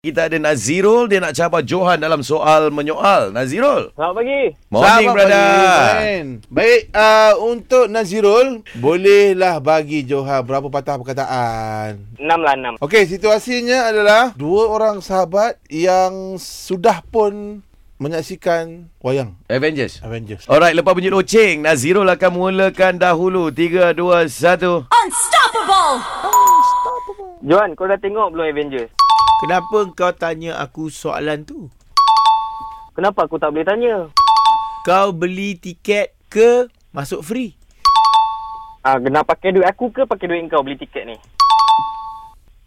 Kita ada Nazirul, dia nak cabar Johan dalam soal menyoal. Nazirul, Selamat pagi. morning Selamat brother. pagi, friend. Baik, uh, untuk Nazirul, bolehlah bagi Johan berapa patah perkataan. Enam lah enam. Okey, situasinya adalah dua orang sahabat yang sudah pun menyaksikan wayang Avengers. Avengers. Alright, lepas bunyi loceng, Nazirul akan mulakan dahulu. 3, 2, 1. Unstoppable! Johan, kau dah tengok belum Avengers? Kenapa kau tanya aku soalan tu? Kenapa aku tak boleh tanya? Kau beli tiket ke masuk free? Ah, kena pakai duit aku ke pakai duit kau beli tiket ni?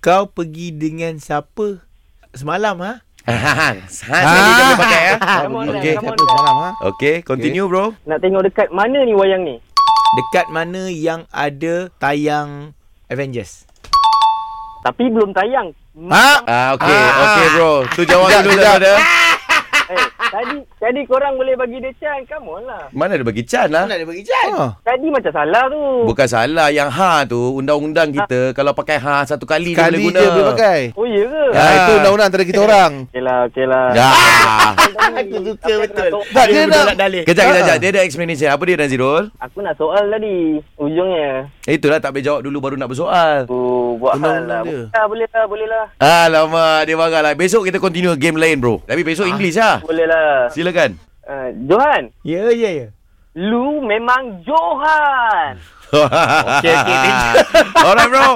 Kau pergi dengan siapa semalam ha? Hans, Hans lagi dia boleh pakai ya. Come on, Okey, come siapa on, semalam ha? Okay, continue bro. Nak tengok dekat mana ni wayang ni? Dekat mana yang ada tayang Avengers? Tapi belum tayang. Ha? Ah, okay, okay bro. Tu jawab Sekejap, dulu lah, sekejap. brother. Eh, tadi tadi korang boleh bagi dia chance. Come on lah. Mana dia bagi can lah. dia bagi jan? Ha. Tadi macam salah tu. Bukan salah yang ha tu undang-undang kita kalau pakai ha satu kali, dia boleh Kali guna. Ya. dia boleh pakai. Oh, iya ke? Ha, itu undang-undang antara kita orang. Okey lah, okey lah. Dah. Aku suka betul. Tak, dia Dia nak- nak dalih. Kejap, kejap, Ha. kejap. Dia ada explanation. Apa dia Nazirul? Aku nak soal tadi. Ujungnya. Eh, Itulah tak boleh jawab dulu baru nak bersoal. Aku buat hal lah. Undang-undang dia. Ah, boleh lah, boleh lah. Alamak, dia marah lah. Besok kita continue game lain bro. Tapi besok English lah. Boleh lah. Silakan. Ah, Johan, Ya, ya, ya. lu memang Johan. okay, okay. Alright bro.